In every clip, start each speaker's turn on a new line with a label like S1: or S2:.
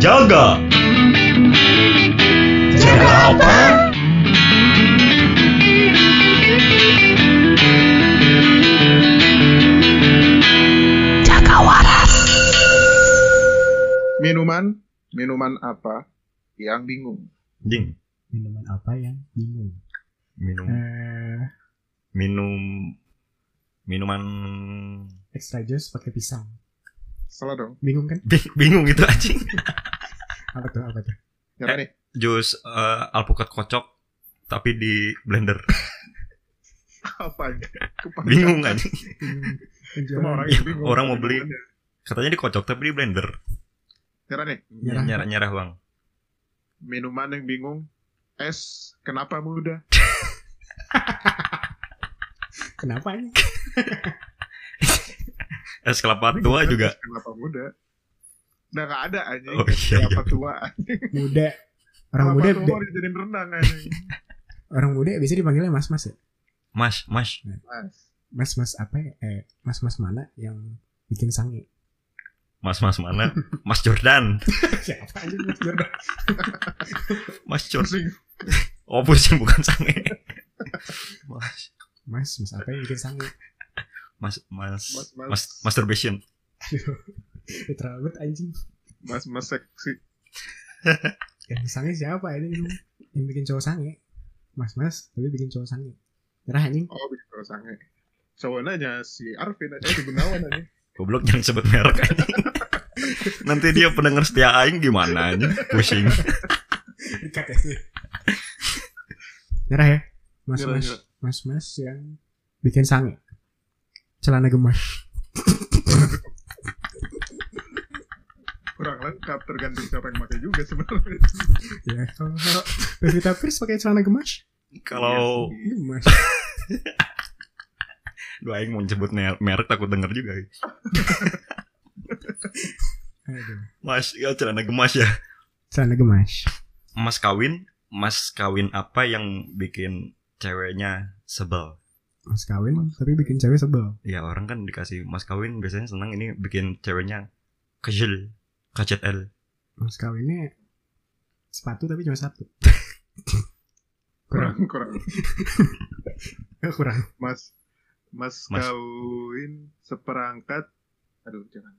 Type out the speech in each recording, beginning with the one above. S1: Jaga. Jaga apa?
S2: Minuman, minuman apa yang bingung?
S1: Ding.
S3: Minuman apa yang bingung?
S1: Minum
S3: Eh,
S1: minum minuman
S3: extra juice pakai pisang.
S2: Salah dong.
S3: Bingung kan?
S1: Bing- bingung gitu anjing.
S3: Apa tuh? Apa tuh?
S2: Siapa nih?
S1: Jus eh, alpukat kocok tapi di blender.
S2: Apa? Kepanjangan.
S1: Bingung anjing.
S3: Bingung. Penjualan.
S2: Semua orang yang bingung.
S1: Orang mau beli. Katanya dikocok tapi di blender.
S2: Siapa nih?
S3: Nyerah.
S1: Nyerah-nyerah, Bang.
S2: Minuman yang bingung. Es, kenapa muda?
S3: Kenapa ini?
S1: Es kelapa tua juga.
S2: Es kenapa muda? Nah, gak ada anjing.
S1: Oh,
S2: Es
S1: iya,
S2: kenapa tua?
S3: Muda. Orang
S2: Kelapa
S3: muda,
S2: tua jadi renang anjing.
S3: orang muda biasa dipanggilnya mas-mas ya.
S1: Mas, Mas.
S2: Mas.
S3: Mas-mas apa ya? Eh, mas-mas mana yang bikin sange?
S1: Mas Mas mana? Mas Jordan.
S3: Siapa aja mas Jordan?
S1: Mas Jordan. Oh, pusing bukan sange. Mas
S3: Mas, mas apa yang bikin sange?
S1: Mas Mas
S2: Mas, mas.
S1: Mas masturbation.
S3: Aduh, literal banget anjing.
S2: Mas, mas seksi.
S3: Yang sange siapa ini? Yang bikin cowok sange? Mas-mas, tapi bikin cowok sange. Nyerah anjing.
S2: Oh, begitu sange. Cowoknya si Arvin aja, si Gunawan aja.
S1: Goblok jangan sebut merek anjing. Nanti dia pendengar setia aing gimana anjing? Pusing.
S3: Dekat ya sih. Nyerah ya. Mas
S2: Nyerah,
S3: mas
S2: nyerah.
S3: mas mas yang bikin sange. Celana gemas.
S2: Kurang lengkap, tergantung siapa yang pakai juga sebenarnya.
S3: Ya kalau kalau Pevita Pierce pakai celana gemas.
S1: Kalau
S3: Gemas.
S1: dua aing mau sebut mer- merek takut denger juga.
S3: Aduh.
S1: Mas, ya celana gemas ya.
S3: Celana gemas.
S1: Mas kawin, Mas kawin apa yang bikin ceweknya sebel?
S3: Mas kawin tapi bikin cewek sebel.
S1: Ya orang kan dikasih mas kawin biasanya senang ini bikin ceweknya kecil, KCL.
S3: Mas kawinnya sepatu tapi cuma satu. kurang
S2: Kurang, kurang.
S3: eh, kurang.
S2: Mas, mas,
S1: Mas.
S2: kawin seperangkat. Aduh, jangan.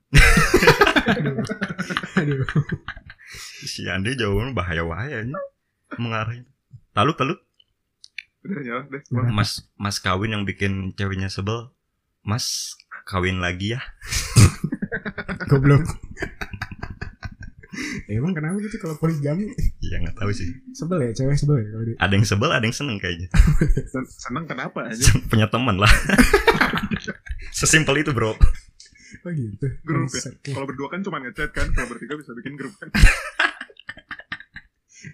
S3: Aduh. Aduh.
S1: Si Andi jawabannya bahaya-bahaya ini. Mengarahnya. Lalu, lalu
S2: Udah nyerah deh.
S3: Nyerah.
S2: Bang.
S1: Mas Mas kawin yang bikin ceweknya sebel. Mas kawin lagi ya.
S3: Goblok. Emang kenapa gitu kalau poligami
S1: Ya nggak tahu sih.
S3: sebel ya cewek sebel ya kalau di
S1: Ada yang sebel, ada yang seneng kayaknya.
S2: Sen- Seneng kenapa aja?
S1: Punya teman lah. Sesimpel itu bro.
S3: oh gitu
S2: Grup ya?
S3: Bangsat.
S2: Kalau berdua kan cuma ngechat kan, kalau bertiga bisa bikin grup kan.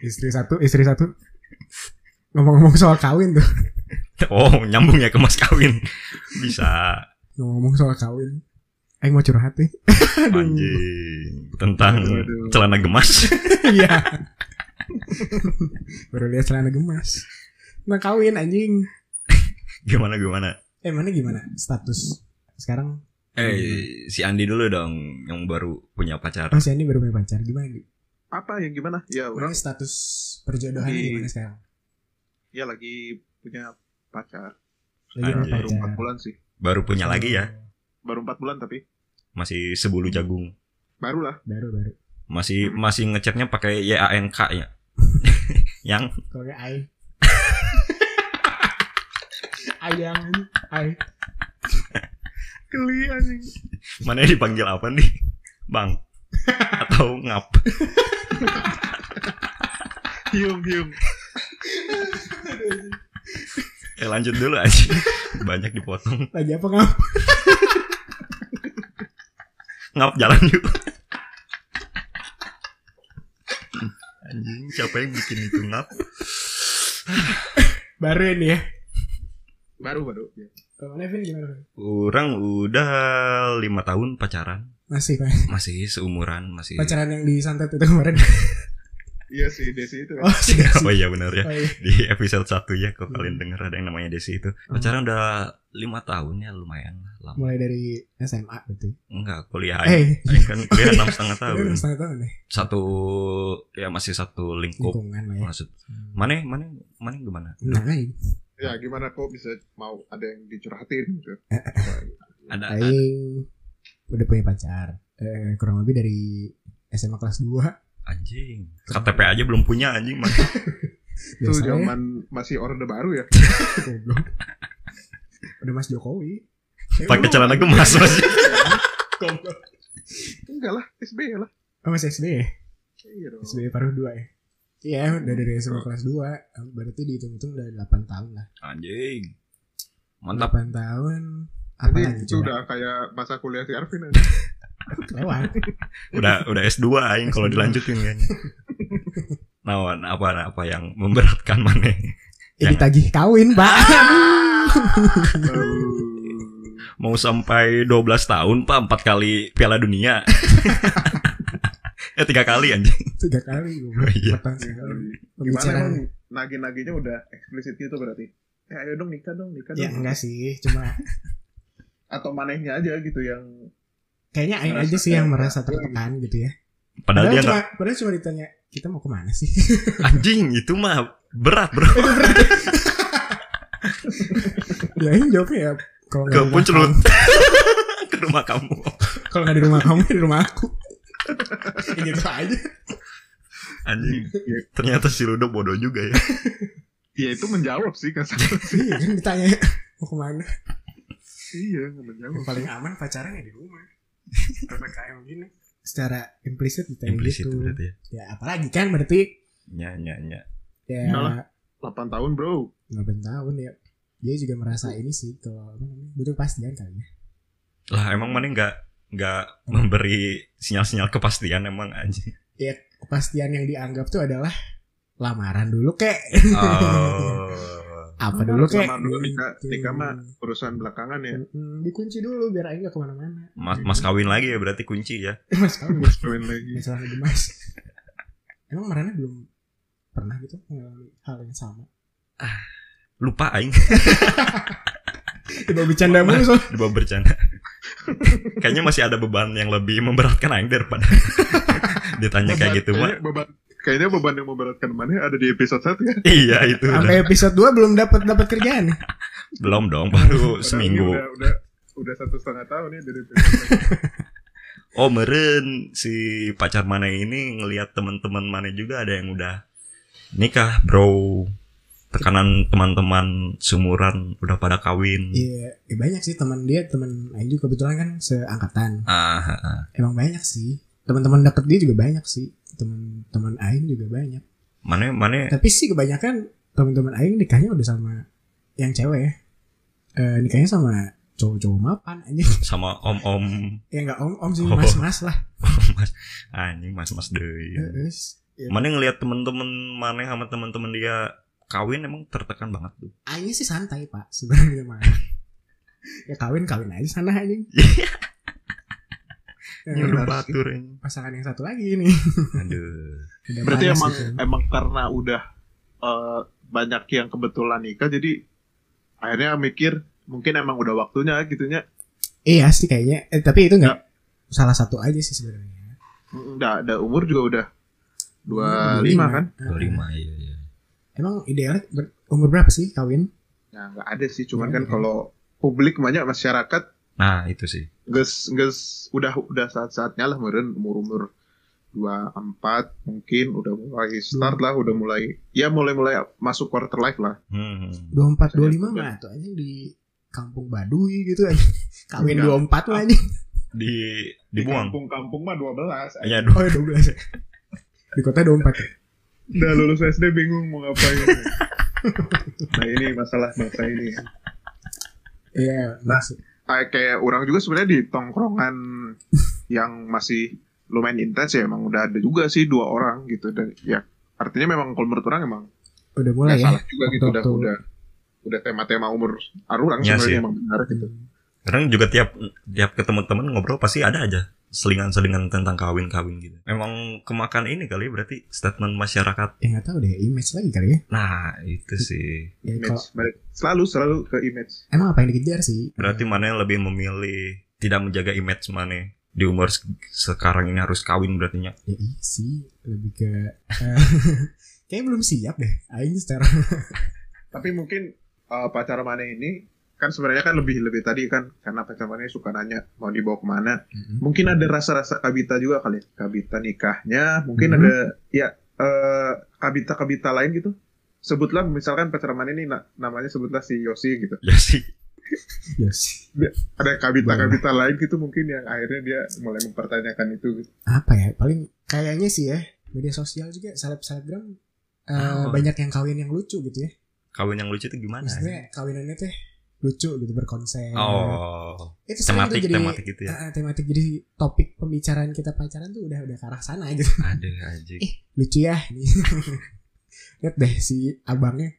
S3: istri satu istri satu ngomong-ngomong soal kawin tuh
S1: Oh nyambung ya ke mas kawin. Bisa.
S3: ngomong-ngomong soal kawin Aing mau curhat nih Aduh.
S1: Anjing. Tentang
S2: Aduh, aduh.
S1: celana gemas.
S3: iya baru lihat celana gemas nah kawin anjing
S1: gimana gimana?
S3: eh mana gimana status sekarang
S1: Eh si Andi dulu dong yang baru punya pacar.
S3: Mas Yandi baru punya pacar gimana Gi?
S2: Apa yang gimana? Ya, orang
S3: Mana status perjodohan
S2: Di-
S3: gimana sekarang
S2: ya lagi punya pacar.
S3: lagi punya
S1: Anjing.
S2: Baru empat
S3: pacar
S2: bulan sih.
S1: Baru punya lagi ya.
S2: Baru empat bulan tapi
S1: Masih sebulu jagung.
S2: baru lah.
S3: baru baru
S1: Masih masih ngechatnya pakai YANK ya. yang
S3: kalau nggak ai ayang ai
S2: Geli anjing.
S1: Mana yang dipanggil apa nih? Bang atau ngap?
S2: Hiung hiung.
S1: Eh lanjut dulu aja. Banyak dipotong.
S3: lagi apa kamu
S1: Ngap jalan yuk. Anjing, siapa yang bikin itu ngap?
S3: baru ini ya
S2: Baru baru. Ya.
S3: Kalau mana Vin gimana Vin?
S1: Orang udah lima tahun pacaran,
S3: masih Pak.
S1: masih seumuran, masih
S3: pacaran yang di santet itu kemarin
S2: Iya sih Desi itu.
S3: Oh, si Desi.
S1: oh iya benar ya
S3: Oh, iya.
S1: di episode satu ya kalau
S3: Hmm.
S1: kalian denger ada yang namanya Desi itu pacaran udah lima tahun ya lumayan lah, lama
S3: Mulai dari SMA gitu.
S1: enggak kuliah aja.
S3: Eh,
S1: Aing kan kuliah enam setengah
S3: udah
S1: tahun
S3: udah setengah tahun nih.
S1: satu ya masih satu lingkup
S3: Lingkungan lah ya.
S1: maksud mana mana mana gimana
S3: Nah, aing.
S2: Ya gimana kok bisa mau ada yang dicurhatin gitu. Nah,
S1: ada
S3: aing udah punya pacar. Eh, kurang lebih dari SMA kelas 2
S1: anjing KTP aja belum punya anjing mah
S2: Itu
S3: Biasa ya,
S2: zaman masih orde baru ya.
S3: goblok. Udah Mas Jokowi. Eh,
S1: pakai
S3: lu-
S1: celana gemas mas
S3: Goblok.
S2: Enggak lah, SBY lah.
S3: Oh, Mas SB ya?
S2: Iya dong.
S3: SB paruh 2 ya? Iya, udah dari SMA kelas 2 Berarti dihitung-hitung udah 8 tahun lah
S1: anjing mantap
S3: 8 tahun Apa
S2: Jadi
S3: lagi
S2: itu
S3: coba?
S2: udah kayak masa kuliah si Arvin aja.
S3: Lewat
S1: udah udah S 2 aing kalau dilanjutin kan nawan apa apa yang memberatkan mana
S3: Eh ditagih kawin, Pak
S2: Ah!
S1: mau sampai 12 tahun pak empat kali Piala Dunia eh tiga kali anjing
S3: Tiga kali gue
S1: Oh, iya.
S3: Matang sekali
S2: Gimana
S3: Pembicaraan
S2: emang nagi-naginya udah eksplisit gitu berarti. Ya ayo dong nikah dong, nikah
S3: Ya
S2: dong.
S3: enggak sih Cuma
S2: Atau manehnya aja gitu yang
S3: Kayaknya Aing
S2: Merasa
S3: aja sih yang
S2: kayak-
S3: merasa tertekan gitu ya
S1: padahal
S3: Padahal
S1: dia
S3: cuma,
S1: nggak
S3: padahal cuma ditanya Kita mau kemana sih?
S1: anjing itu mah berat bro
S3: ya Aing jawabnya ya kalau
S1: ke
S3: nggak di rumah
S1: Punclut
S3: kamu-
S1: ke rumah kamu
S3: Kalau nggak di rumah kamu Di rumah aku Ya gitu aja
S1: anjing ternyata si Ludo bodoh juga ya
S2: ya itu menjawab sih kasar.
S3: Iya kan ditanya Mau kemana?
S2: iya, menjawab.
S3: Yang paling aman pacaran ya di rumah. PPKM gini. Secara implisit ditanya
S1: implisit
S3: gitu.
S1: berarti ya
S3: Ya apalagi kan berarti
S1: nya nya nya
S3: ya
S2: Salah. 8 tahun, Bro.
S3: 8 tahun ya. Dia juga merasa ini sih kalau apa namanya butuh kepastian kali ya.
S1: lah emang mana nggak nggak memberi sinyal-sinyal kepastian emang anjing
S3: Kepastian yang dianggap tuh adalah lamaran dulu kek.
S1: oh.
S3: Apa dulu kek?
S2: Lamaran dulu, nikah-
S3: Gitu.
S2: nikah mah Urusan belakangan ya.
S3: Mm-mm, dikunci dulu biar Aing gak kemana-mana.
S1: mas mas kawin lagi ya berarti kunci ya
S3: Eh, Mas kamu
S2: Terus kawin lagi.
S3: masalah lagi gitu, mas. Emang Marana belum pernah gitu mengalami hal yang sama?
S1: lupa aing
S3: Tiba bercanda mulu soalnya.
S1: di bawah bercanda. Kayaknya masih ada beban yang lebih memberatkan Aing daripada ditanya kayak gitu mah.
S2: Kayaknya beban, kayaknya beban yang memberatkan mana ada di episode 1 ya.
S1: Iya itu udah.
S3: Sampai episode 2 belum dapat dapat kerjaan.
S1: belum dong baru
S2: Padahal ini
S1: seminggu.
S2: Udah, udah, udah satu setengah tahun ya dari episode
S1: Oh meren si pacar mana ini ngelihat teman-teman mana juga ada yang udah nikah bro. Tekanan teman-teman sumuran udah pada kawin.
S3: Iya, ya banyak sih teman dia, teman Aing juga kebetulan kan seangkatan.
S1: Ah, ah, ah.
S3: Emang banyak sih. Teman-teman deket dia juga banyak sih. Teman-teman Aing juga banyak.
S1: mana mana
S3: Tapi sih kebanyakan teman-teman Aing nikahnya udah sama yang cewek ya. Eh, nikahnya sama cowok-cowok mapan aja.
S1: sama om-om
S3: ya nggak om-om sih,
S1: Oh.
S3: mas-mas lah.
S1: mas anjing mas-mas
S2: Iya.
S1: deui.
S3: Heeh. Ya,
S1: Mana ngelihat temen-temen mana sama temen-temen dia kawin emang tertekan banget tuh.
S3: Aing sih santai pak sebenarnya mah. ya kawin kawin aja sana aja.
S1: Nyuruh
S3: Iya,
S2: harus-
S1: batur ini.
S3: pasangan yang satu lagi ini.
S1: Aduh.
S3: Ada
S2: Berarti
S3: Manas
S2: emang
S3: gitu.
S2: emang karena udah eh, banyak yang kebetulan nikah jadi akhirnya mikir mungkin emang udah waktunya gitunya
S3: Iya sih kayaknya. Eh, tapi itu nggak
S2: Ya.
S3: salah satu aja sih sebenarnya.
S2: udah ada umur juga udah
S3: Hmm,
S2: 25 kan
S3: Ah.
S1: 25 iya iya.
S3: Emang idealnya ber- umur berapa sih kawin?
S2: nah nggak ada sih cuman
S3: Iya,
S2: kan
S3: iya.
S2: kalau publik banyak masyarakat
S1: Nah, itu sih.
S2: ges ges udah udah saat-saatnya lah meren umur umur 24 mungkin udah mulai start lah udah mulai ya mulai mulai masuk quarter life lah
S1: Hmm.
S3: 24, 25
S2: Iya.
S3: mah tuh aja di kampung Baduy gitu aja. Kawin
S2: Enggak.
S3: 24 lah aja.
S1: Di dibuang.
S2: kampung-kampung mah 12
S1: Iya, aduh.
S3: Oh ya 12 ya. Di kota 24 ya.
S2: Udah lulus SD bingung mau ngapain. nah ini masalah bangsa ini.
S3: Iya, masuk.
S2: Ah, kayak orang juga sebenarnya di tongkrongan yang masih lumayan intens ya emang udah ada juga sih dua orang gitu dan ya artinya memang kalau menurut orang emang
S3: Udah mulai
S2: nggak
S3: ya.
S2: salah juga gitu udah
S3: waktu-waktu.
S2: udah udah tema-tema umur orang
S1: Iya
S2: sebenarnya
S1: sih.
S3: Hmm.
S2: emang benar gitu.
S1: Kadang juga tiap tiap ketemu teman ngobrol pasti ada aja selingan-selingan tentang kawin-kawin gitu. Emang kemakan ini kali berarti statement masyarakat.
S3: Ya nggak tahu deh, image lagi kali ya.
S1: Nah, itu sih.
S3: ya
S2: image
S3: kalau,
S2: balik- selalu selalu ke image
S3: emang apa yang dikejar sih?
S1: Berarti mana yang lebih memilih tidak menjaga image mana di umur se- sekarang ini harus kawin berarti nya.
S3: Ya iya sih, lebih ke eh, kayaknya belum siap deh. Aing secara
S2: tapi mungkin eh, pacar mana ini kan sebenarnya kan lebih lebih tadi kan karena pacar mana suka nanya mau dibawa kemana mungkin ada rasa-rasa kabita juga kali ya. kabita nikahnya mungkin
S3: Mhm.
S2: ada ya eh, kabita-kabita lain gitu sebutlah misalkan pacar mana ini na- namanya sebutlah si Yosi gitu
S1: Ya sih.
S3: Ya sih.
S2: ada kabita-kabita lain gitu mungkin yang akhirnya dia mulai mempertanyakan itu gitu.
S3: Apa ya? Paling kayaknya sih ya media sosial juga seleb selebgram eh,
S1: Oh. Nah,
S3: banyak yang kawin yang lucu gitu ya.
S1: Kawin yang lucu itu gimana?
S3: Maksudnya kawinannya teh lucu gitu berkonsep.
S1: iya. Oh,
S3: itu sering tuh
S1: tematik
S3: jadi
S1: tematik gitu ya.
S3: eh, eh, tematik jadi topik pembicaraan kita pacaran tuh udah udah ke arah sana gitu.
S1: Aduh anjing.
S3: lucu ya ini lihat deh si abangnya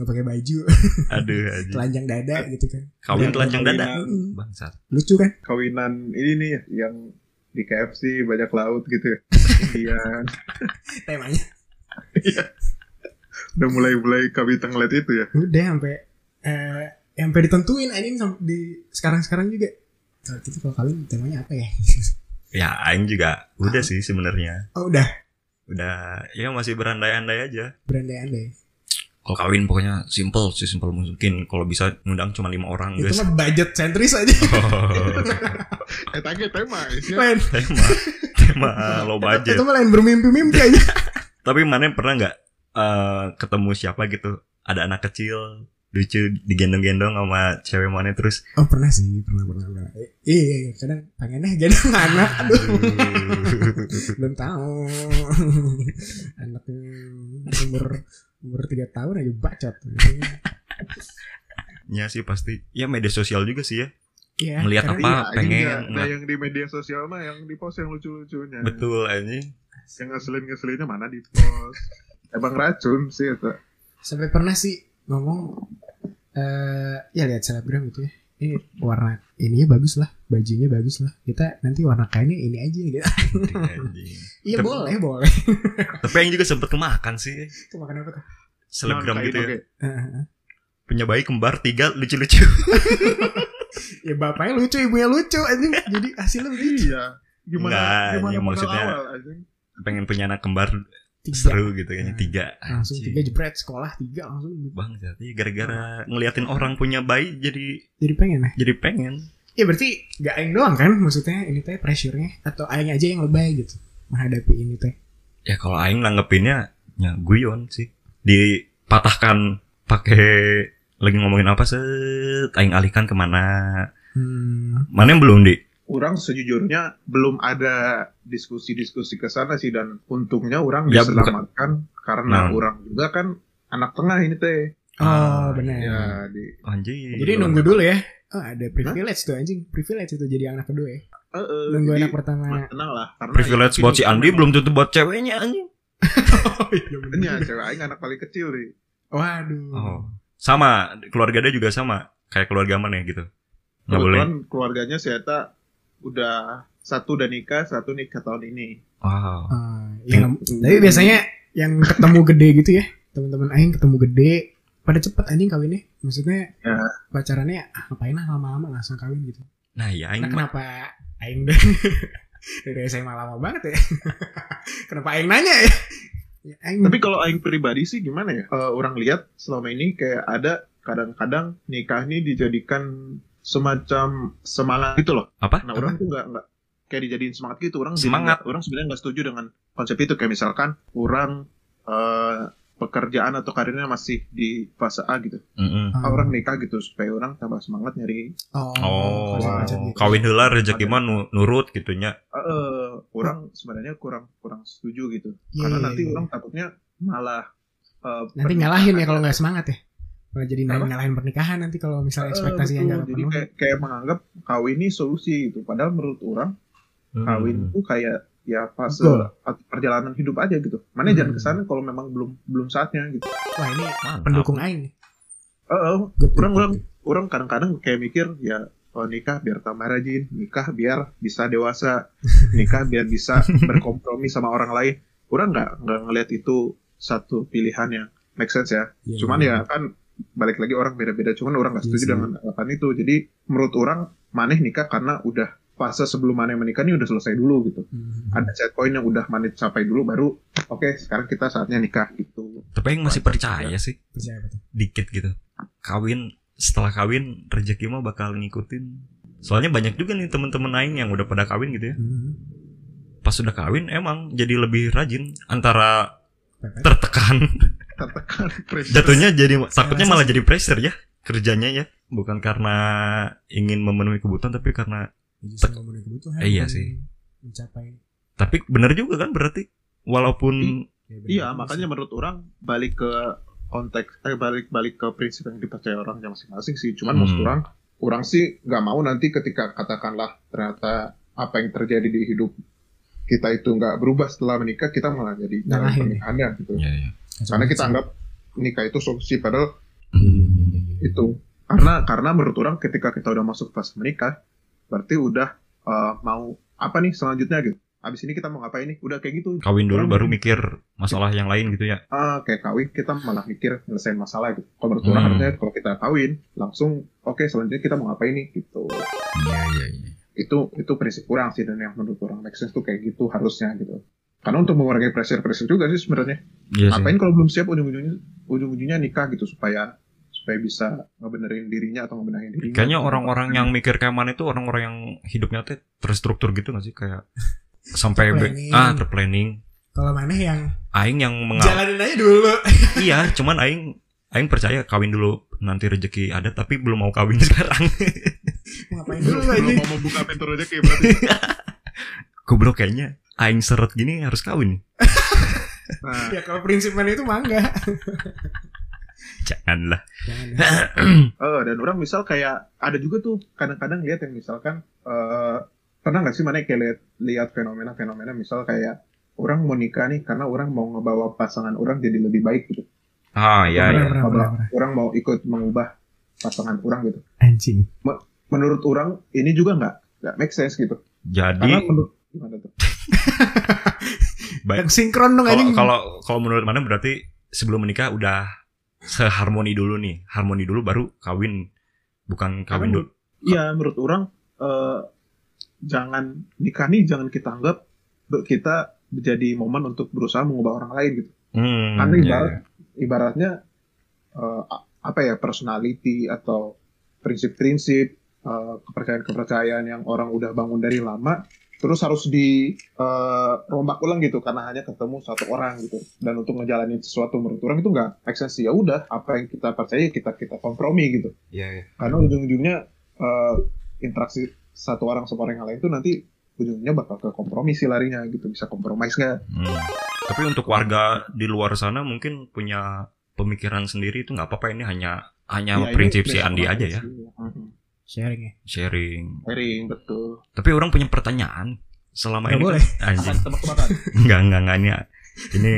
S3: nggak pakai baju
S1: Hmm. Aduh anjing.
S3: telanjang dada gitu kan
S1: Kawin telanjang dada.
S3: Mm-mm.
S1: Bangsat.
S3: lucu kan
S2: kawinan ini nih ya, yang di KFC banyak laut gitu ya Iya,
S3: temanya
S2: udah mulai-mulai kabita ngeliat itu ya
S3: udah sampai eh sampai ditentuin anjing sam- di sekarang sekarang juga kalau kita kalau kawin temanya apa ya
S1: Ya aing juga udah sih sebenarnya.
S3: oh udah
S1: Udah ya masih berandai-andai aja.
S3: berandai-andai
S1: Kalau kawin pokoknya simple sih simple mungkin. Kalau bisa ngundang cuma lima orang
S3: itu
S1: guys.
S3: mah budget sentris aja
S2: eh tanya tema isinya
S3: lain
S1: tema tema low budget.
S3: itu mah lain bermimpi-mimpi aja
S1: Tapi mana pernah nggak eh, ketemu siapa gitu? Ada anak kecil lucu digendong-gendong sama cewek mana terus
S3: oh pernah sih pernah pernah, pernah. Eh, iya iya kadang pengennya gendong anak aduh belum tahu anaknya umur umur tiga tahun aja bacot
S1: ya sih pasti ya media sosial juga sih ya
S3: Iya,
S1: Ngeliat
S3: karena-
S1: apa?
S2: Iya,
S1: pengen
S2: iya. Nah,
S1: ngeliat.
S2: yang di media sosial mah yang di post yang lucu-lucunya
S1: betul anjing
S2: yang ngeselin ngeselinnya mana di post emang racun sih itu
S3: sampai pernah sih ngomong eh ya lihat selebgram gitu ya ini warna ininya bagus lah bajunya bagus lah kita nanti warna kainnya ini aja gitu
S1: Anjing.
S3: iya
S1: Tapi-
S3: boleh boleh
S1: tapi yang juga sempet kemakan sih
S3: itu makan apa tuh
S1: selebgram
S2: Nah,
S1: gitu ya
S2: kayak-
S3: Heeh.
S1: punya bayi kembar tiga lucu-lucu
S3: ya bapaknya lucu ibunya lucu anjing jadi gitu. hasilnya begitu
S2: iya gimana
S1: Nggak,
S2: gimana
S1: ini
S2: modal
S1: maksudnya-
S2: awal anjing?
S1: pengen punya anak kembar
S3: tiga
S1: seru gitu kayaknya
S3: Nah,
S1: tiga
S3: langsung tiga
S1: Anjing.
S3: jebret sekolah tiga langsung gitu.
S1: bang jadi gara-gara ngeliatin orang punya bayi jadi
S3: jadi pengen ya
S1: jadi pengen
S3: ya berarti gak aing doang kan maksudnya ini teh pressure-nya atau aing aja yang lebay gitu menghadapi ini teh
S1: ya kalau Aing nanggepinnya ya guyon sih dipatahkan pakai lagi ngomongin apa set Aing alihkan kemana
S3: hmm,
S1: mana yang belum di
S2: orang sejujurnya belum ada diskusi-diskusi ke sana sih dan untungnya orang
S1: Ya,
S2: diselamatkan
S1: Nah.
S2: karena orang juga kan anak tengah ini teh
S3: oh
S1: Ah,
S3: benar
S2: ya di
S1: anjing
S3: jadi nunggu dulu ya oh, ada privilege tuh anjing privilege itu jadi anak kedua ya
S2: eh, eh,
S3: nunggu
S2: jadi
S3: anak pertama
S2: tenang lah karena ya
S1: privilege
S2: yakin-
S1: buat si Andi belum tentu buat ceweknya anjing Oh, iya.
S2: Ya, cewek aing anak paling kecil nih
S3: Iya, waduh
S1: oh sama keluarga dia juga sama kayak keluarga mana ya gitu nggak boleh
S2: kebetulan keluarganya si Eta udah satu udah nikah satu nikah tahun ini
S1: wow
S3: Ah, ya, tapi biasanya yang ketemu gede gitu ya teman-teman aing ketemu gede pada cepet anjing kawinnya maksudnya
S2: Ya.
S3: pacarannya ah, ngapain lah lama-lama langsung kawin gitu
S1: nah ya Aing
S3: Nah,
S1: mah-
S3: kenapa Aing dari, dari SMA lama banget ya? kenapa Aing nanya ya? Ya, Aing
S2: Tapi kalau aing pribadi sih gimana ya? Eh, orang lihat selama ini kayak ada kadang-kadang nikah ini dijadikan semacam semangat gitu loh.
S1: apa
S2: Nah orang tuh nggak nggak kayak dijadiin semangat gitu. Orang jadi
S1: Semangat.
S2: nggak- orang sebenarnya nggak setuju dengan konsep itu. Kayak misalkan orang eh, pekerjaan atau karirnya masih di fase A gitu.
S1: Mm-mm.
S3: Ah,
S2: Ah, Orang nikah gitu supaya orang tambah semangat nyari.
S3: oh,
S1: Oh,
S3: konsep- konsep gitu.
S1: kawin heula rezeki mah nu- nurut gitu gitunya.
S2: Eh, eh, orang sebenarnya kurang kurang setuju gitu.
S3: Iya,
S2: Karena
S3: iya,
S2: nanti
S3: iya.
S2: orang takutnya malah eh,
S3: nanti
S2: pernikahan
S3: nyalahin ya kalau nggak semangat ya. Malah jadi
S2: Apa? Eh,
S3: nyalahin pernikahan nanti kalau misalnya ekspektasi yang
S2: Betul,
S3: nggak
S2: jadi
S3: penuh.
S2: kayak, kayak menganggap kawin ini solusi gitu padahal menurut orang
S1: Hmm.
S2: kawin itu kayak ya fase
S3: Betul.
S2: atau perjalanan hidup aja gitu mana jangan
S3: Hmm.
S2: kesana kalau memang belum belum saatnya gitu
S3: Wah ini
S1: Mantap.
S3: pendukung Aing. nih.
S2: Eh, eh,
S3: Good,
S2: Kurang,
S3: good,
S2: kurang. orang kadang-kadang kayak mikir ya kalau nikah biar tambah rajin nikah biar bisa dewasa nikah biar bisa berkompromi sama orang lain kurang nggak nggak ngelihat itu satu pilihan yang make sense ya
S3: Iya,
S2: cuman
S3: iya.
S2: ya kan balik lagi orang beda-beda cuman orang nggak
S3: Iya
S2: setuju
S3: sih.
S2: dengan alasan itu jadi menurut orang maneh nikah karena udah fase sebelum maneh menikah ini udah selesai dulu gitu
S3: Hmm.
S2: ada set point yang udah maneh capai dulu baru oke sekarang kita saatnya nikah gitu
S1: Tapi yang masih percaya sih
S3: Percaya apa tuh?
S1: dikit gitu. Kawin setelah kawin rezeki mah bakal ngikutin. Soalnya banyak juga nih temen-temen aing yang udah pada kawin gitu ya.
S3: Hmm.
S1: Pas udah kawin emang jadi lebih rajin antara
S3: Pepet.
S1: tertekan
S2: tertekan pressure.
S1: jatuhnya jadi takutnya
S3: rasa
S1: malah jadi pressure ya kerjanya ya. Bukan karena ingin memenuhi kebutuhan tapi karena
S3: Ya, justru memenuhi kebutuhan.
S1: Eh, iya
S3: bukan
S1: sih.
S3: Mencapai.
S1: tapi bener juga kan berarti walaupun
S3: Ya, benar
S2: Iya,
S3: juga
S2: makanya
S3: sih.
S2: menurut orang balik ke konteks eh balik balik ke prinsip yang dipercaya orang yang masing-masing sih. Cuman
S1: Hmm.
S2: maksud orang, orang sih nggak mau nanti ketika katakanlah ternyata apa yang terjadi di hidup kita itu nggak berubah setelah menikah, kita malah jadi nyalahin
S3: Nyalahin.
S2: pernikahannya gitu.
S1: ya, ya.
S3: Kacau
S2: Karena
S3: banget
S2: kita
S3: sih.
S2: anggap nikah itu solusi padahal
S1: Hmm.
S2: itu. Karena karena menurut orang ketika kita udah masuk fase menikah, berarti udah eh, mau apa nih selanjutnya gitu. Abis ini kita mau ngapain nih? Udah kayak gitu.
S1: kawin dulu baru mikir masalah yang lain gitu ya.
S2: ah kayak kawin kita malah mikir nyelesain masalah gitu. Kalau menurut
S1: Hmm.
S2: orang harusnya kalau kita kawin langsung oke selanjutnya kita mau ngapain nih gitu.
S1: Iya iya iya.
S2: Itu itu prinsip orang sih dan yang menurut orang make sense tuh kayak gitu harusnya gitu. Karena untuk mengurangi pressure-pressure juga sih sebenarnya.
S1: Iya sih.
S2: Ngapain kalau belum siap ujung-ujungnya ujung-ujungnya nikah gitu supaya supaya bisa ngebenerin dirinya atau ngebenahin dirinya.
S1: Kayaknya orang-orang yang mikir kayak mana itu orang-orang yang hidupnya tuh terstruktur gitu gak sih kayak sampai be-
S3: Terplanning.
S1: ah terplanning.
S3: Kalau mana yang
S1: Aing yang mengal
S3: jalanin aja dulu.
S1: iya, cuman aing aing percaya kawin dulu nanti rezeki ada tapi belum mau kawin sekarang.
S3: Ngapain dulu aja.
S2: mau membuka pintu rezeki berarti
S1: Goblok kayaknya aing seret gini harus kawin.
S2: nah,
S3: Ya kalau prinsip mana itu mangga.
S1: Janganlah.
S3: Jangan.
S2: Eh, dan orang misal kayak ada juga tuh kadang-kadang lihat yang misalkan eh pernah nggak sih mana kayak lihat lihat fenomena-fenomena misal kayak orang mau nikah nih karena orang mau ngebawa pasangan orang jadi lebih baik gitu.
S1: Ah iya iya.
S3: Pernah, pernah, pernah, pernah.
S2: Orang mau ikut mengubah pasangan orang gitu.
S3: Anjing.
S2: Menurut orang ini juga nggak nggak make sense gitu. Karena
S1: Jadi
S2: menurut gimana tuh?
S1: baik-
S3: Yang sinkron dong
S1: kalau
S3: anjing.
S1: kalau kalau menurut mana berarti sebelum menikah udah seharmoni dulu nih. Harmoni dulu baru kawin. Bukan kawin dulu.
S2: Iya menurut orang eh jangan nikah nih jangan kita anggap be- kita jadi momen untuk berusaha mengubah orang lain gitu.
S1: Hmm,
S2: Karena
S1: iya,
S2: ibarat,
S1: iya.
S2: ibaratnya eh, a- apa ya personality atau prinsip-prinsip eh, kepercayaan-kepercayaan yang orang udah bangun dari lama terus harus dirombak ulang gitu karena hanya ketemu satu orang gitu dan untuk ngejalanin sesuatu menurut orang itu nggak make sense. ya udah apa yang kita percaya kita kita kompromi gitu
S1: Iya,
S2: karena ujung-ujungnya eh, interaksi satu orang sama orang yang lain itu nanti ujungnya bakal ke kompromi sih larinya gitu bisa kompromis nggak
S1: Hmm. Tapi untuk warga di luar sana mungkin punya pemikiran sendiri itu nggak apa-apa ini hanya hanya
S2: Ya, ini
S1: prinsip si Andi
S2: prinsip
S1: aja ya
S2: sih. Mhm.
S3: sharing ya.
S1: sharing.
S2: Sharing, betul
S1: Tapi orang punya pertanyaan selama
S3: Nggak
S1: ini
S3: boleh.
S1: kan- anjing
S2: tebak-tebakan?
S1: nggak nggak nggak ini, ya. ini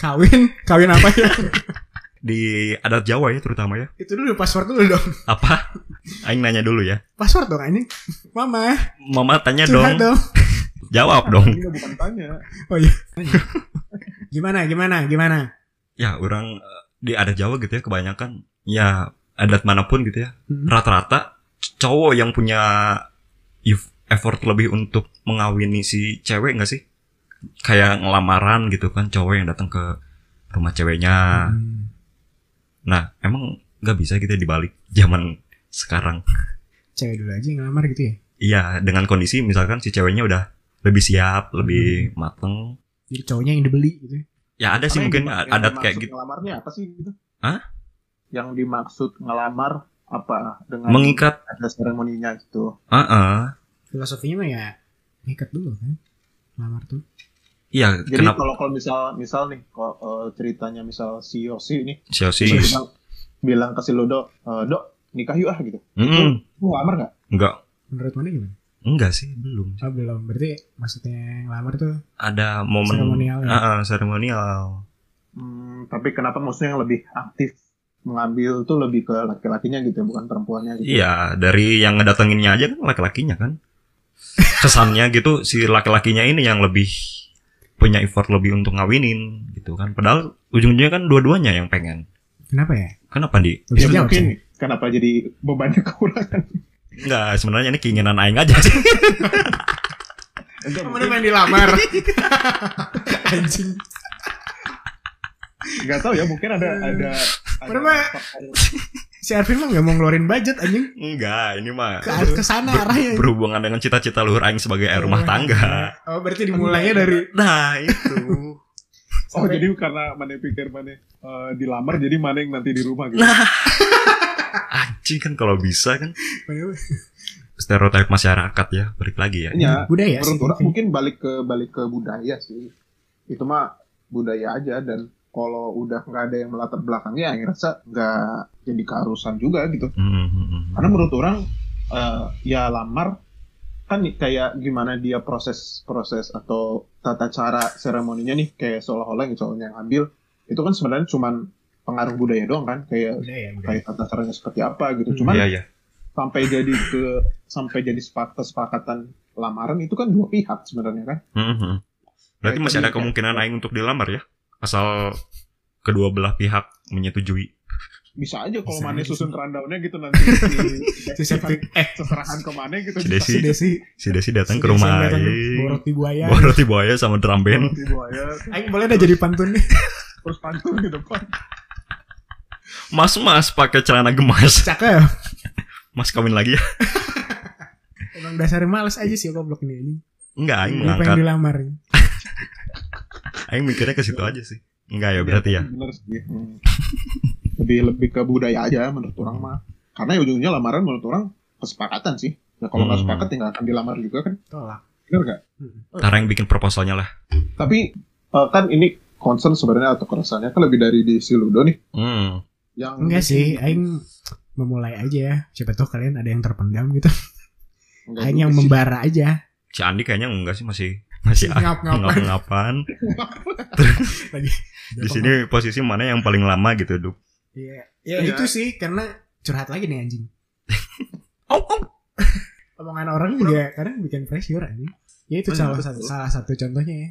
S3: Kawin, kawin apa ya?
S1: di adat Jawa ya terutama ya
S3: itu dulu password dulu dong.
S1: apa? Aing nanya dulu ya.
S3: Password dong anjing. Mama,
S1: Mama tanya
S3: curhat
S1: dong,
S3: dong.
S1: jawab dong.
S2: Ini bukan tanya.
S3: Gimana, gimana, gimana?
S1: Ya orang eh, di adat Jawa gitu ya kebanyakan ya adat manapun gitu ya
S3: Hmm.
S1: rata-rata cowok yang punya eff- effort lebih untuk mengawini si cewek nggak sih? Kayak ngelamaran gitu kan cowok yang datang ke rumah ceweknya.
S3: Hmm.
S1: Nah, emang nggak bisa gitu dibalik zaman sekarang.
S3: Cewek dulu aja yang ngelamar gitu ya.
S1: Iya, dengan kondisi misalkan si ceweknya udah lebih siap, lebih mateng.
S3: Jadi cowoknya yang dibeli gitu. ya.
S1: Ya ada sih
S2: Karena
S1: mungkin
S2: yang dima-
S1: adat
S2: yang
S1: kayak
S2: dimaksud
S1: gitu.
S2: Ngelamarnya apa sih gitu?
S1: Hah?
S2: Yang dimaksud ngelamar apa dengan
S1: Mengikat,
S2: ada seremoninya gitu.
S1: ah
S3: Filosofinya mah ya ngikat dulu kan. Ngelamar tuh.
S1: iya
S2: Jadi
S1: kenapa
S2: kalau kalau misal misal nih kalau eh, ceritanya misal si Yosi nih
S1: si si
S2: terus bilang, bilang ke si Ludo, eh, "Dok, nikah yuk ah" gitu.
S1: Mm-mm.
S2: Lu ngelamar nggak?
S1: enggak
S3: Menurut mana gimana?
S1: enggak sih belum
S3: Oh belum. Berarti maksudnya ngelamar tuh
S1: ada momen
S3: seremonial ya.
S1: Ah, ah, seremonial
S2: Hmm, tapi kenapa maksudnya yang lebih aktif? mengambil tuh lebih ke laki-lakinya gitu ya, bukan perempuannya gitu.
S1: Iya, dari yang ngedatenginnya aja kan laki-lakinya kan. Kesannya gitu si laki-lakinya ini yang lebih punya effort lebih untuk ngawinin gitu kan. Padahal ujung-ujungnya kan dua-duanya yang pengen.
S3: Kenapa ya?
S1: Kenapa di?
S3: Gak
S2: Ya
S3: bisa jawab,
S2: mungkin kenapa jadi bebannya kekurangan?
S1: Enggak, sebenarnya ini keinginan aing aja sih.
S2: Enggak,
S3: Sam.
S2: mungkin,
S3: Kemarin main dilamar. Anjing.
S2: enggak tahu ya, mungkin ada ada ada
S3: Mana, Ma? Si Arvin mah gak mau ngeluarin budget anjing.
S1: Enggak, ini mah
S3: Ke, ke sana arahnya.
S1: berhubungan dengan cita-cita luhur aing sebagai air rumah tangga.
S3: Oh berarti dimulainya dari
S1: Nah, itu.
S2: Oh,
S3: Sampai-
S2: jadi karena mana pikir mana eh, dilamar jadi mana yang nanti di rumah gitu.
S1: Nah. Anjing kan kalau bisa kan stereotip masyarakat ya, balik lagi ya.
S2: Ya,
S3: budaya Iya sih.
S2: menurut orang mungkin balik ke balik ke budaya sih itu mah budaya aja dan kalau udah nggak ada yang melatar belakangnya yang rasa nggak jadi keharusan juga gitu
S1: Hmm, hmm, hmm.
S2: karena menurut orang eh, ya lamar kan nih kayak gimana dia proses proses atau tata cara seremoninya nih kayak seolah-olah yang cowoknya yang ambil itu kan sebenarnya cuman pengaruh budaya doang kan kayak
S3: Budaya, budaya.
S2: kayak tata caranya seperti apa gitu cuman
S1: Iya, iya.
S2: sampai jadi ke sampai jadi sepakat kesepakatan lamaran itu kan dua pihak sebenarnya kan
S1: Hmm, hmm. Berarti
S2: Kayak
S1: masih ada
S2: tadi,
S1: kemungkinan
S2: kayak-
S1: aing untuk dilamar ya? Asal kedua belah pihak menyetujui.
S2: bisa aja kalau
S3: Bisa
S2: mana
S3: aja
S2: susun
S3: sih.
S2: rundownnya gitu nanti si,
S3: Si Septi. Eh,
S2: seserahan ke mana gitu
S1: Si Desi,
S3: si Desi.
S1: si Desi datang
S3: si
S1: Kan ke
S3: Desi
S1: rumah
S3: datang,
S1: aing.
S3: Borot di buaya.
S1: Borot di buaya sama drum band.
S2: Di buaya,
S3: Aing boleh dah jadi pantun nih.
S2: terus pantun di depan
S1: Mas-mas pakai celana gemas.
S3: Cakep.
S1: Mas kawin lagi ya?
S3: Emang dasar males aja sih goblok ini anjing.
S1: Enggak, aing
S3: Ini pengen
S1: mengangkat.
S3: dilamar.
S1: Aing mikirnya ke situ aja sih. Enggak ya berarti ya.
S2: bener sih Hmm. lebih lebih ke budaya aja menurut orang mah karena ujungnya lamaran menurut orang kesepakatan sih nah, kalau nggak
S1: Hmm.
S2: sepakat tinggal akan dilamar juga kan
S3: Tolak.
S2: bener nggak
S1: Tara yang bikin proposalnya lah.
S2: tapi eh, kan ini concern sebenarnya atau keresahannya kan lebih dari di Siludo nih
S1: Hmm.
S2: yang
S3: Enggak sih, aing memulai aja ya. Siapa tahu kalian ada yang terpendam gitu.
S2: Enggak
S3: Aing
S2: juga
S3: yang
S2: sih.
S3: membara aja.
S1: Si Andi kayaknya enggak sih masih
S3: Iya.
S1: masih
S3: Ngap-ngapan.
S1: ngapa-ngapan.
S3: Lagi.
S1: Di sini posisi mana yang paling lama gitu, Duk.
S3: Iya. Ya,
S2: Iya.
S3: itu sih karena curhat lagi nih anjing.
S1: Oh, oh.
S3: Omongan orang juga kadang bikin pressure anjing. Ya itu
S2: Bener,
S3: salah
S2: betul.
S3: satu salah satu contohnya ya.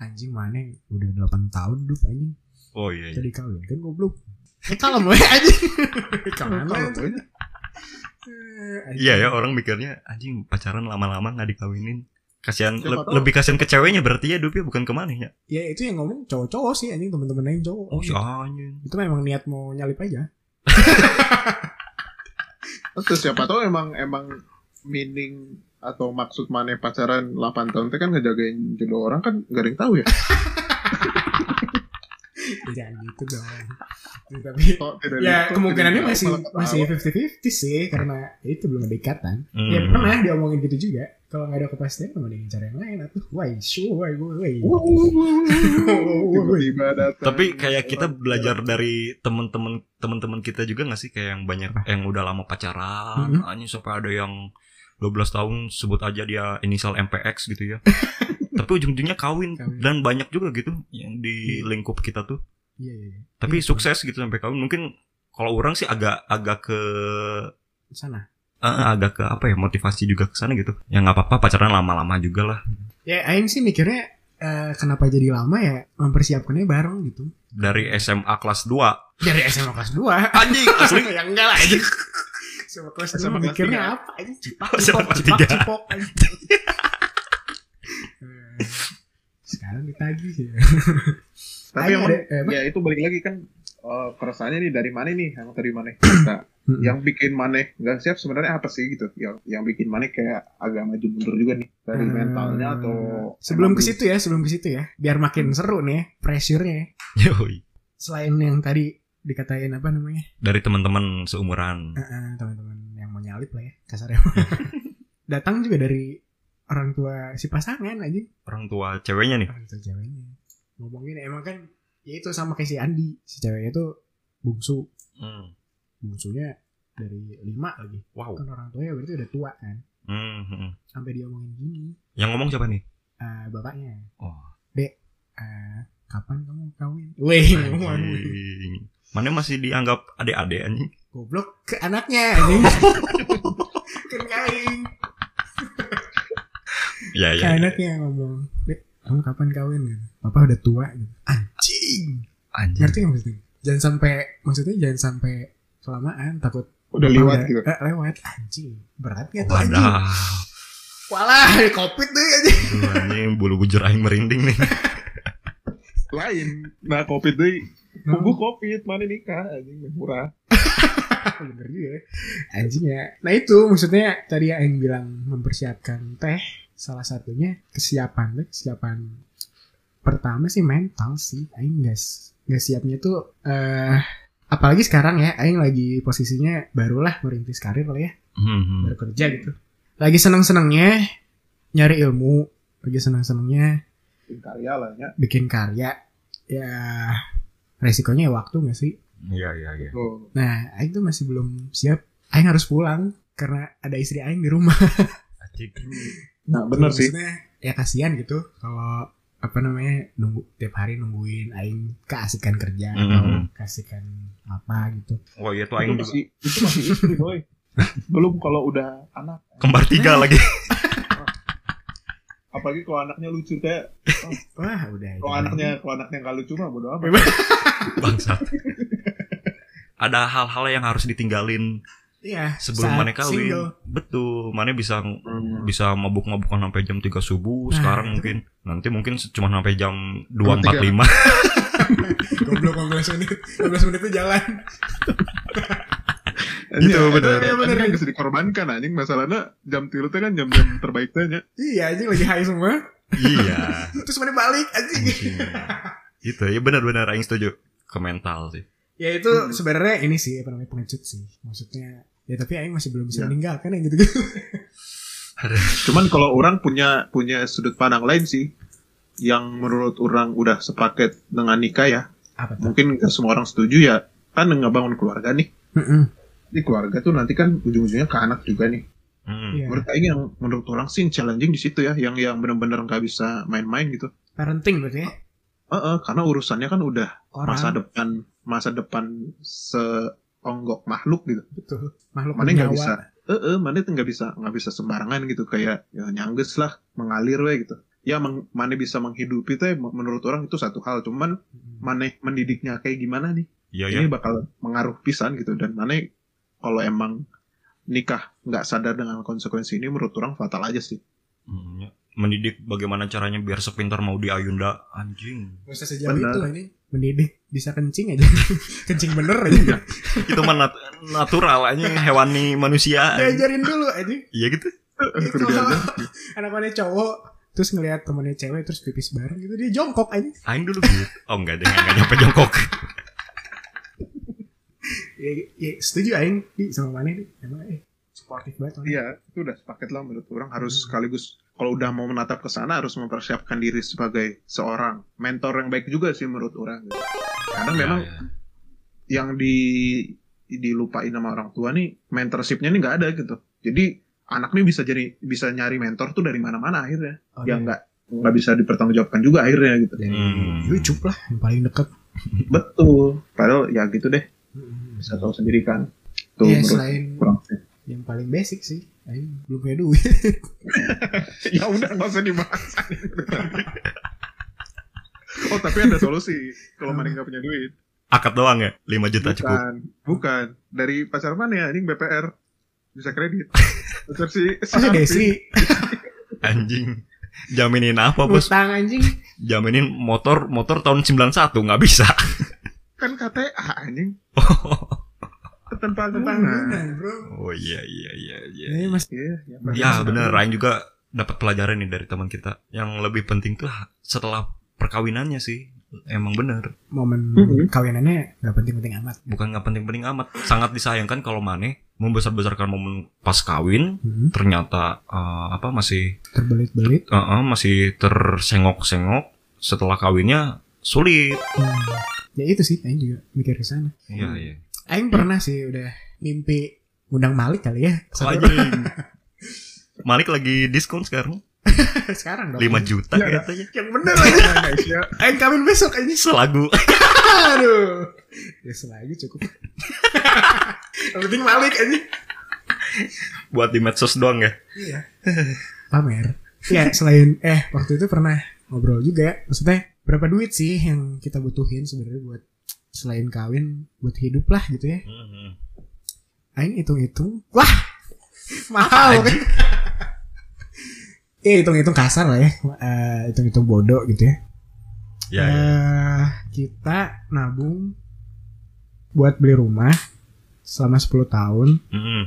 S3: Anjing mana yang udah 8 tahun dup anjing.
S1: Oh iya. iya.
S3: Jadi kawin kan goblok. Eh kalem we anjing. Kalem
S2: Kalau
S3: we.
S2: gue-
S3: Eh, anjing.
S1: Iya ya orang mikirnya anjing pacaran lama-lama nggak dikawinin. Kasihan
S2: Siapa
S1: le-
S2: tahu.
S1: lebih kasihan ke ceweknya berarti ya Dup ya bukan ke mana ya.
S3: Ya itu yang ngomong cowok-cowok sih anjing teman-teman yang cowok.
S1: Oh si anjing.
S3: Itu memang niat mau nyalip aja.
S2: Terus ya, siapa tahu emang emang meaning atau maksud mana pacaran 8 tahun itu kan ngejagain jodoh orang kan gak ada yang tahu ya.
S3: Ya, Jangan gitu dong. Ya, Tapi
S2: Kok tidak
S3: ya
S2: di-
S3: kemungkinannya
S2: tidak di-
S3: masih
S2: malah
S3: masih 50-50 sih karena ya itu belum ada ikatan.
S1: Hmm.
S3: Ya pernah diomongin gitu juga. Kalau nggak ada kepastian mau dengan cara yang lain atuh. Why sure why why. why.
S2: ketahuan. Tiba-tiba datang.
S1: Tapi kayak
S2: Iya,
S1: kita belajar dari temen-temen temen-temen kita juga nggak sih kayak yang banyak yang udah lama pacaran,
S3: Mhm.
S1: anjing sampai ada yang 12 tahun sebut aja dia inisial MPX gitu ya. Tapi ujung-ujungnya kawin
S3: Kawin.
S1: dan banyak juga gitu yang di lingkup kita tuh.
S3: Iya iya. iya.
S1: Tapi
S3: Iya,
S1: sukses gitu sampai kawin. Mungkin kalau orang sih agak agak ke
S3: Sana.
S1: eh, agak ke apa ya motivasi juga ke sana gitu. Ya nggak apa-apa pacaran lama-lama juga lah.
S3: Ya aing sih mikirnya eh, kenapa jadi lama ya mempersiapkannya bareng gitu.
S1: Dari SMA kelas 2.
S3: Dari SMA kelas 2.
S1: Anjing asli.
S3: ya enggak lah anjing. SMA kelas
S2: SMA
S3: 2
S2: kelas
S3: mikirnya
S2: tiga.
S3: apa anjing? Cipak
S1: SMA
S3: cipok
S1: kelas
S3: cipak
S1: tiga.
S3: cipok anjing. Eh, Sekarang ditagih ya.
S2: Tapi
S3: Ayo,
S2: emang
S3: Dek. Eh, apa?
S2: ya itu balik lagi kan eh, keresahannya nih dari mana nih yang tadi mana kita yang bikin maneh nggak siap sebenarnya apa sih gitu yang yang bikin maneh kayak agak maju mundur juga nih dari
S3: Hmm.
S2: mentalnya atau
S3: sebelum
S2: emang
S3: ke situ ya, sebelum ke situ ya, biar makin seru nih ya, pressure-nya. ya.
S1: Yoi.
S3: Selain yang tadi dikatain apa namanya?
S1: Dari teman-teman seumuran.
S3: Eh, eh, teman-teman yang mau nyalip lah ya, kasarnya.
S2: Hmm.
S3: Datang juga dari orang tua si pasangan aja,
S1: orang tua ceweknya nih.
S3: orang tua Ah, ceweknya. Ngomongin emang kan ya itu sama kayak si Andi, si ceweknya tuh bungsu, bungsunya dari lima lagi.
S1: Hmm, Wow.
S3: Kan orang tuanya berarti udah tua kan.
S1: Hmm, hmm, hmm.
S3: Sampai dia ngomongin gini,
S1: Yang ngomong siapa nih?
S3: eh, bapaknya,
S1: Oh.
S3: "Dek, eh, kapan kamu kawin?" Weh, ngomong.
S1: anjing. Mana masih dianggap adik-adik anjing.
S3: Goblok ke anaknya anjing. Kan Kenyain.
S1: Ya
S3: Ke
S1: ya. ya.
S3: anaknya yang ngomong. Dek, kamu kapan kawin? Gitu. Papa udah tua. Gitu. Anjing.
S1: Anjing.
S3: Ngerti nggak maksudnya? Jangan sampai maksudnya jangan sampai kelamaan takut
S2: Udah lewat gitu.
S3: Eh, lewat anjing. Berat nggak tuh anjing?
S1: Wadah.
S3: Walah, covid tuh ya, anjing.
S1: Aduh, anjing bulu bujur aing merinding nih.
S2: Lain. Nah, covid deh. Tunggu covid, mana nikah anjing murah.
S3: Bener juga ya. Anjing ya. Nah itu maksudnya tadi yang bilang mempersiapkan teh salah satunya kesiapan deh kesiapan pertama sih mental sih aing guys nggak siapnya tuh eh apalagi sekarang ya aing lagi posisinya barulah merintis karir lah ya
S1: Hmm.
S3: baru kerja gitu lagi seneng senengnya nyari ilmu lagi seneng senengnya
S2: Karya lah ya.
S3: bikin karya ya resikonya ya waktu nggak sih
S1: Iya iya iya.
S2: Tuh.
S3: Nah, Aing tuh masih belum siap. Aing harus pulang karena ada istri Aing di rumah.
S1: Anjing.
S2: Nah, bener sih.
S3: Maksudnya, ya kasihan gitu kalau apa namanya nunggu tiap hari nungguin Aing keasikan kerja atau
S1: Mhm.
S3: keasikan apa gitu.
S1: Oh iya tuh
S2: Itu
S1: aing juga
S2: masih, itu masih istri gitu, boy. Belum kalau udah anak.
S1: kembar tiga lagi.
S2: Apalagi kalau anaknya lucu kayak
S3: Wah, udah.
S2: kalau
S3: jangan.
S2: anaknya kalau anaknya nggak lucu mah bodo amat.
S1: Bangsat. Ada hal-hal yang harus ditinggalin
S3: Iya,
S1: sebelum
S3: saat
S1: mana kawin.
S3: single.
S1: Betul, mana bisa
S2: Hmm.
S1: bisa mabuk-mabukan sampai jam 3 subuh
S3: Nah,
S1: sekarang
S3: itu.
S1: mungkin nanti mungkin cuma sampai jam
S2: Jam
S1: 2.45
S3: Goblok 15 menit. 15 menit tuh jalan.
S1: Gitu,
S2: Iya,
S1: bener.
S2: Iya bener. Kan bisa dikorbankan anjing masalahnya jam tiru teh kan jam-jam terbaik teh nya.
S3: Iya, anjing lagi high semua.
S1: iya
S3: Terus mana balik anjing.
S1: anjing. gitu ya benar-benar aing setuju ke mental sih
S3: ya itu
S2: Hmm.
S3: sebenarnya ini sih apa namanya pengecut sih. Maksudnya ya tapi Aing masih belum
S2: Ya.
S3: bisa meninggalkan yang gitu-gitu.
S2: Cuman kalau orang punya punya sudut pandang lain sih yang menurut orang udah sepaket dengan nikah ya
S3: Apa tuh?
S2: mungkin nggak semua orang setuju ya kan ngebangun keluarga nih
S3: Mm-mm.
S2: di keluarga tuh nanti kan ujung-ujungnya ke anak juga nih
S1: Hmm.
S3: Iya.
S2: menurut Aing yang menurut orang sih yang challenging di situ ya yang yang benar-benar nggak bisa main-main gitu
S3: Parenting berarti ya.
S2: Heeh, karena urusannya kan udah
S3: Orang
S2: masa depan masa depan seonggok makhluk gitu
S3: betul. Makhluk
S2: mana nggak
S3: bernyawa.
S2: bisa eh eh, mana itu nggak bisa nggak bisa sembarangan gitu kayak ya, nyangges lah mengalir we gitu ya meng- mana bisa menghidupi teh menurut orang itu satu hal cuman
S3: Mm.
S2: mana mendidiknya kayak gimana nih
S1: iya iya
S2: ini bakal mengaruh pisan gitu dan mana kalau emang nikah nggak sadar dengan konsekuensi ini menurut orang fatal aja sih
S1: Hmm, ya. mendidik bagaimana caranya biar sepintar mau di Ayunda anjing
S3: Gak usah sejauh
S2: Benar.
S3: itu lah ini. Mendidik bisa kencing aja. kencing bener
S2: Iya.
S3: aja.
S1: itu mah nat- natural anjing hewani manusia anjing.
S3: Diajarin dulu aja.
S1: iya gitu
S3: Itu
S2: Kudu diajar.
S3: anak mana cowok terus ngelihat temennya cewek terus pipis bareng gitu dia jongkok aja.
S1: aing dulu gitu oh enggak deh enggak nyampe jongkok
S3: Ya, ya, setuju aing di sama mana di emang eh sportif banget. orangnya.
S2: Iya, itu udah sepaket lah menurut orang
S3: Hmm.
S2: harus sekaligus kalau udah mau menatap ke sana harus mempersiapkan diri sebagai seorang mentor yang baik juga sih menurut orang. gitu.
S3: Kan
S2: Karena
S3: Ya,
S2: memang
S1: Iya, iya.
S2: yang di dilupain sama orang tua nih mentorshipnya nih nggak ada gitu. Jadi anak nih bisa jadi bisa nyari mentor tuh dari mana-mana akhirnya.
S3: Oh,
S2: Ya
S3: iya.
S2: nggak nggak bisa dipertanggungjawabkan juga akhirnya gitu.
S3: Dari
S1: Hmm.
S3: YouTube lah yang paling deket.
S2: Betul. Padahal ya gitu deh bisa tahu sendiri kan. Tuh
S3: Hmm, Iya,
S2: menurut
S3: selain-
S2: orang.
S3: Yang paling basic sih. Aing belum punya duit.
S2: ya udah nggak usah dibahas oh tapi ada solusi kalau mana nggak punya duit
S1: akad doang ya 5 juta cukup
S2: bukan bukan dari pacar mana ya ini BPR bisa kredit pacar si si
S3: Oh,
S2: Arfi.
S3: Desi
S1: anjing jaminin apa bos
S3: utang anjing.
S1: jaminin motor motor tahun 91 nggak bisa
S2: kan KTA anjing
S1: oh
S2: tentang
S3: Nah,
S2: tentang
S3: bro.
S1: iya iya iya iya
S3: Ya, mas
S2: Iya,
S1: Ya bener, Aing juga dapat pelajaran nih dari teman kita. Yang lebih penting tuh setelah perkawinannya sih. Emang bener,
S3: momen
S2: Mhm.
S3: kawinannya nggak penting-penting amat.
S1: bukan nggak penting-penting amat. Sangat disayangkan kalau Mane membesar-besarkan momen pas kawin
S3: Mhm.
S1: ternyata eh, apa masih
S3: Terbelit-belit.
S1: eh, eh, masih tersengok-sengok setelah kawinnya sulit.
S3: Hmm. Ya itu sih, Aing juga mikir ke sana.
S1: Iya iya.
S3: Aing pernah sih udah mimpi undang Malik kali ya.
S1: Anjing. Malik lagi diskon sekarang.
S3: Sekarang dong.
S1: 5 juta
S2: Iya,
S1: ya, itu ya.
S3: Yang bener aja.
S2: Indonesia
S3: Aing kawin besok aja.
S1: Selagu.
S3: Aduh. Ya selagi cukup. Yang penting balik aja.
S1: Buat di medsos doang ya.
S3: Iya. Pamer. Iya, selain eh waktu itu pernah ngobrol juga. Maksudnya berapa duit sih yang kita butuhin sebenarnya buat selain kawin buat hidup lah gitu ya. Aing hitung-hitung. Wah. Mahal kan. Iya hitung-hitung kasar lah ya. Eh, hitung-hitung bodoh gitu ya.
S1: Ya, ya.
S3: Eh, kita nabung buat beli rumah selama 10 tahun,
S1: Mm-mm.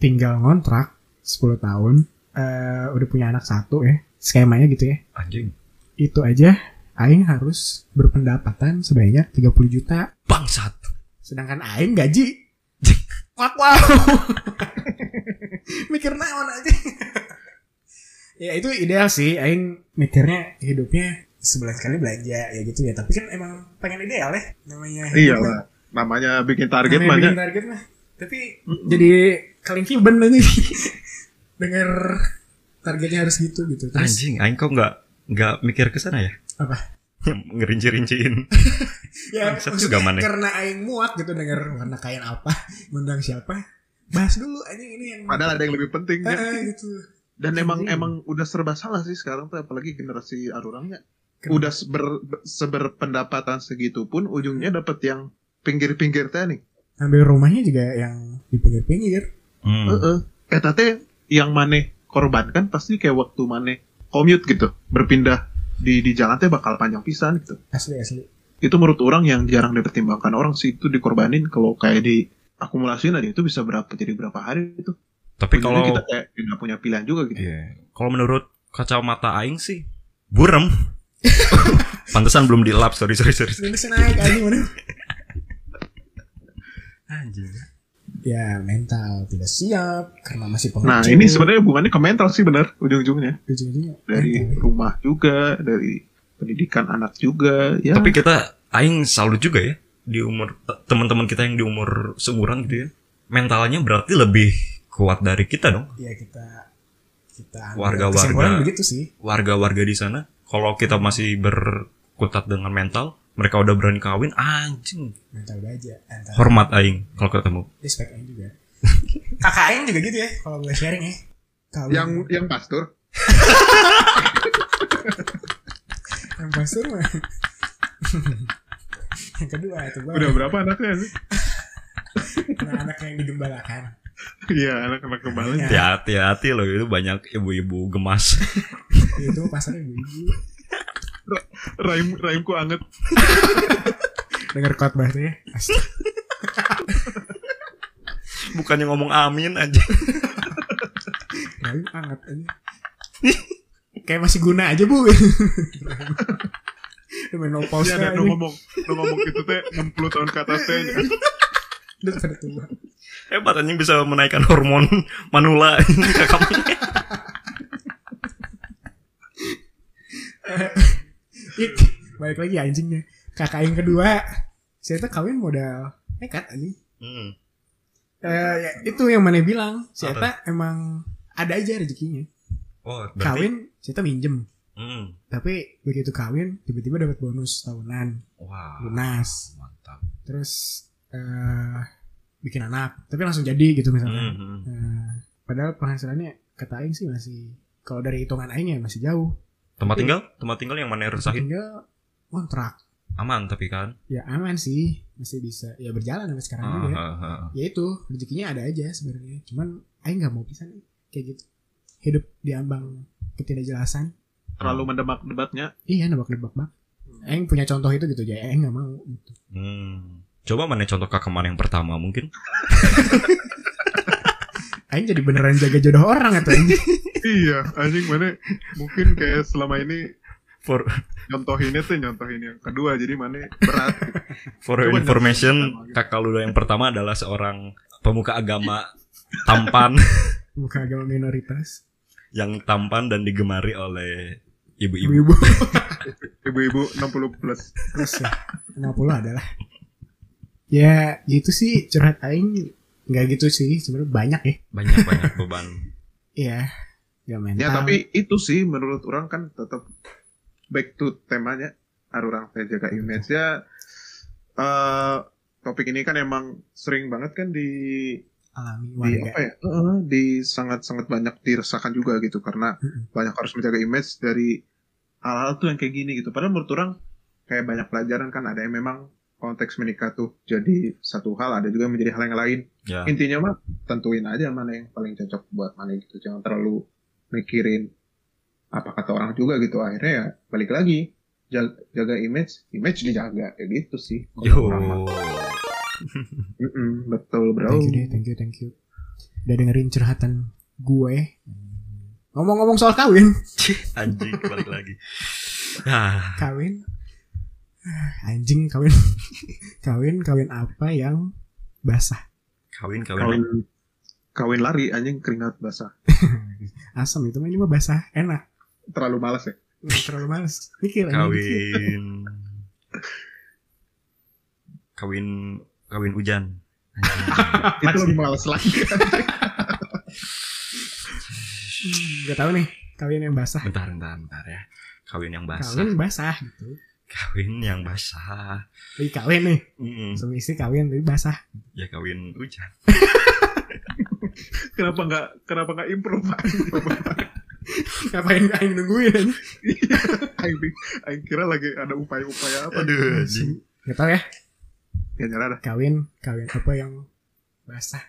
S3: tinggal ngontrak 10 tahun, eh, udah punya anak satu ya, skemanya gitu ya.
S1: Anjing.
S3: Itu aja, Aing harus berpendapatan sebanyak 30 juta,
S1: Bangsat.
S3: sedangkan Aing gaji. Wak wow. Mikir naon aja. ya itu ideal sih, Aing mikirnya hidupnya sebulan sekali belanja ya gitu ya tapi kan emang pengen ideal ya namanya hidup
S2: iya
S3: kan.
S2: lah namanya bikin target
S3: Namanya
S2: banyak
S3: bikin target mah. Tapi jadi kelingkiban lagi. Dengar targetnya harus gitu gitu. Terus
S1: Anjing, aing kok nggak nggak mikir ke sana ya?
S3: apa?
S1: Ngerinci-rinciin.
S3: Ya
S1: Bangsat juga
S3: maksudnya
S1: mana.
S3: karena aing muak gitu denger warna kain apa, ngundang siapa. Bahas dulu anjing ini yang
S2: padahal ada yang lebih penting
S3: Eh,
S2: ya.
S3: eh, gitu.
S2: dan emang
S3: Anjing.
S2: emang udah serba salah sih sekarang tuh apalagi generasi arurangnya
S3: Kenapa?
S2: udah seber, seberpendapatan segitu pun ujungnya dapat yang pinggir-pinggir teh nih
S3: Ambil rumahnya juga yang di pinggir-pinggir.
S1: Hmm.
S2: Heeh. Eta teh Eh, yang maneh korbankan pasti kayak waktu maneh commute gitu, berpindah di di jalan teh bakal panjang pisan gitu.
S3: Asli asli.
S2: Itu menurut orang yang jarang dipertimbangkan orang sih itu dikorbanin kalau kayak di akumulasiin aja itu bisa berapa jadi berapa hari itu.
S1: Tapi
S2: Ujungnya
S1: kalau
S2: kita kayak tidak punya pilihan juga gitu.
S1: Iya. Kalau menurut kacamata aing sih, burem. Pantesan belum dilap, sorry sorry sorry.
S3: Minusnya naik anjing mana?
S1: Anjing.
S3: Ya mental tidak siap karena masih pengecut.
S2: Nah, ini sebenarnya hubungannya ke mental sih benar ujung-ujungnya.
S3: Ujung-ujungnya
S2: Dari
S1: Hmm.
S3: mental. ya.
S2: rumah juga, dari pendidikan anak juga ya.
S1: Tapi kita aing salut juga ya di umur te- teman-teman kita yang di umur seumuran gitu ya. Mentalnya berarti lebih kuat dari kita dong.
S3: ya kita kita ambil
S1: Warga-warga.
S3: kesimpulan begitu sih
S1: Warga-warga di sana kalau kita masih berkutat dengan mental, mereka udah berani kawin, anjing.
S3: mental baja antara
S1: Hormat aing kalau ketemu.
S3: respect aing juga kakak aing juga gitu ya kalau gue sharing ya kalau
S2: yang yang pastor
S3: yang pastor mah yang kedua itu gue
S2: udah berapa anaknya sih?
S3: anak yang digembalakan
S2: Iya, anak-anak kembali.
S3: Iya.
S1: Ya, hati-hati loh itu banyak ibu-ibu gemas.
S3: itu pasarnya gue ibu
S2: Raim raimku anget.
S3: dengar khotbahnya Astaga.
S1: Bukannya ngomong amin aja.
S3: Rayu anget aja kayak masih guna aja bu Udah no pause
S2: Iya, ada ngomong, nu ngomong gitu teh 60 tahun ke atas teh.
S3: Udah pada tua.
S1: Hebat anjing bisa menaikkan hormon manula kamu.
S3: Ih, balik lagi anjingnya kakak yang kedua saya tuh kawin modal nekat anjing
S1: Hmm.
S3: Eh, ya, itu yang mana bilang si
S1: Apa?
S3: Eta emang ada aja rezekinya
S1: Oh,
S3: kawin si Eta minjem
S1: Hmm.
S3: tapi begitu kawin tiba-tiba dapat bonus tahunan
S1: Wah,
S3: lunas
S1: mantap.
S3: terus eh bikin anak tapi langsung jadi gitu misalnya
S1: Hmm.
S3: Eh, padahal penghasilannya kata Aing sih masih kalau dari hitungan Aing ya masih jauh
S1: Tempat tinggal, tempat tinggal yang mana rusakin?
S3: tinggal kontrak
S1: Aman tapi kan.
S3: ya aman sih masih bisa ya berjalan sampai sekarang juga
S1: Ah, ah, ah.
S3: ya itu rezekinya ada aja sebenarnya cuman Aing nggak mau pisan kayak gitu hidup di ambang ketidakjelasan
S2: Terlalu mendemak debatnya.
S3: iya nebak-nebak bang Aing punya contoh itu gitu aja Aing nggak mau gitu.
S1: Hmm. Coba mana contoh kakak mana yang pertama mungkin?
S3: Aing jadi beneran jaga jodoh orang atau Aing
S2: iya, anjing mana mungkin kayak selama ini
S1: For
S2: nyontohinnya tuh nyontohin yang kedua jadi mana berat. gitu.
S1: for
S2: Coba
S1: information,
S2: jangan-
S1: kakak Ludo yang pertama adalah seorang pemuka agama tampan
S3: bukan agama minoritas
S1: yang tampan dan digemari oleh
S2: Iya.
S1: ibu-ibu.
S3: ibu-ibu
S2: Ibu-ibu 60 plus.
S3: terus ya 50 adalah ya gitu sih curhat Aing nggak gitu sih sebenarnya banyak ya
S1: Banyak banyak beban.
S3: Iya ya mental
S2: Ya tapi itu sih menurut orang kan tetap back to temanya harus orang teh jaga image ya. Eh, topik ini kan emang sering banget kan di
S3: alami
S2: di
S3: warga
S2: apa ya? eh, di sangat-sangat banyak dirasakan juga gitu karena
S3: Mm-mm.
S2: banyak harus menjaga image dari hal-hal tuh yang kayak gini gitu. Padahal menurut orang kayak banyak pelajaran kan ada yang memang konteks menikah tuh jadi satu hal ada juga menjadi hal yang lain
S1: ya
S2: intinya mah tentuin aja mana yang paling cocok buat mana gitu jangan terlalu mikirin apa kata orang juga gitu akhirnya ya balik lagi jaga, jaga image image dijaga ya gitu sih
S1: yo
S2: Mm-mm, betul bro
S3: thank you deh thank you thank you udah dengerin curhatan gue ngomong-ngomong soal kawin
S1: anjing balik lagi nah
S3: kawin Ah, anjing kawin kawin kawin apa yang basah
S1: kawin kawin,
S2: kawin kawin lari anjing keringat basah
S3: asam itu mah ini mah basah enak
S2: terlalu malas ya
S3: Nggak terlalu males mikir anjing, mikir.
S1: kawin kawin kawin hujan
S2: itu lebih malas lagi
S3: Hmm, Gak tau nih kawin yang basah
S1: bentar bentar bentar ya kawin yang basah
S3: kawin basah gitu
S1: kawin yang basah
S3: lagi kawin nih
S1: Mm-mm.
S3: suami istri kawin tapi basah
S1: ya kawin hujan
S2: kenapa nggak kenapa nggak improve
S3: ngapain aing nungguin aja
S2: Aing bi- Aing kira lagi ada upaya-upaya apa
S1: aduh anjing
S3: Gak tau ya
S2: ya nyerah dah
S3: kawin kawin apa yang basah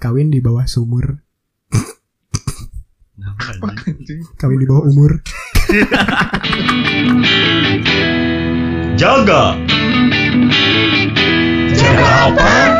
S3: kawin di bawah sumur
S1: Kenapa,
S2: Apa,
S1: anjing?
S2: anjing
S3: kawin di bawah umur
S1: jaga jaga apa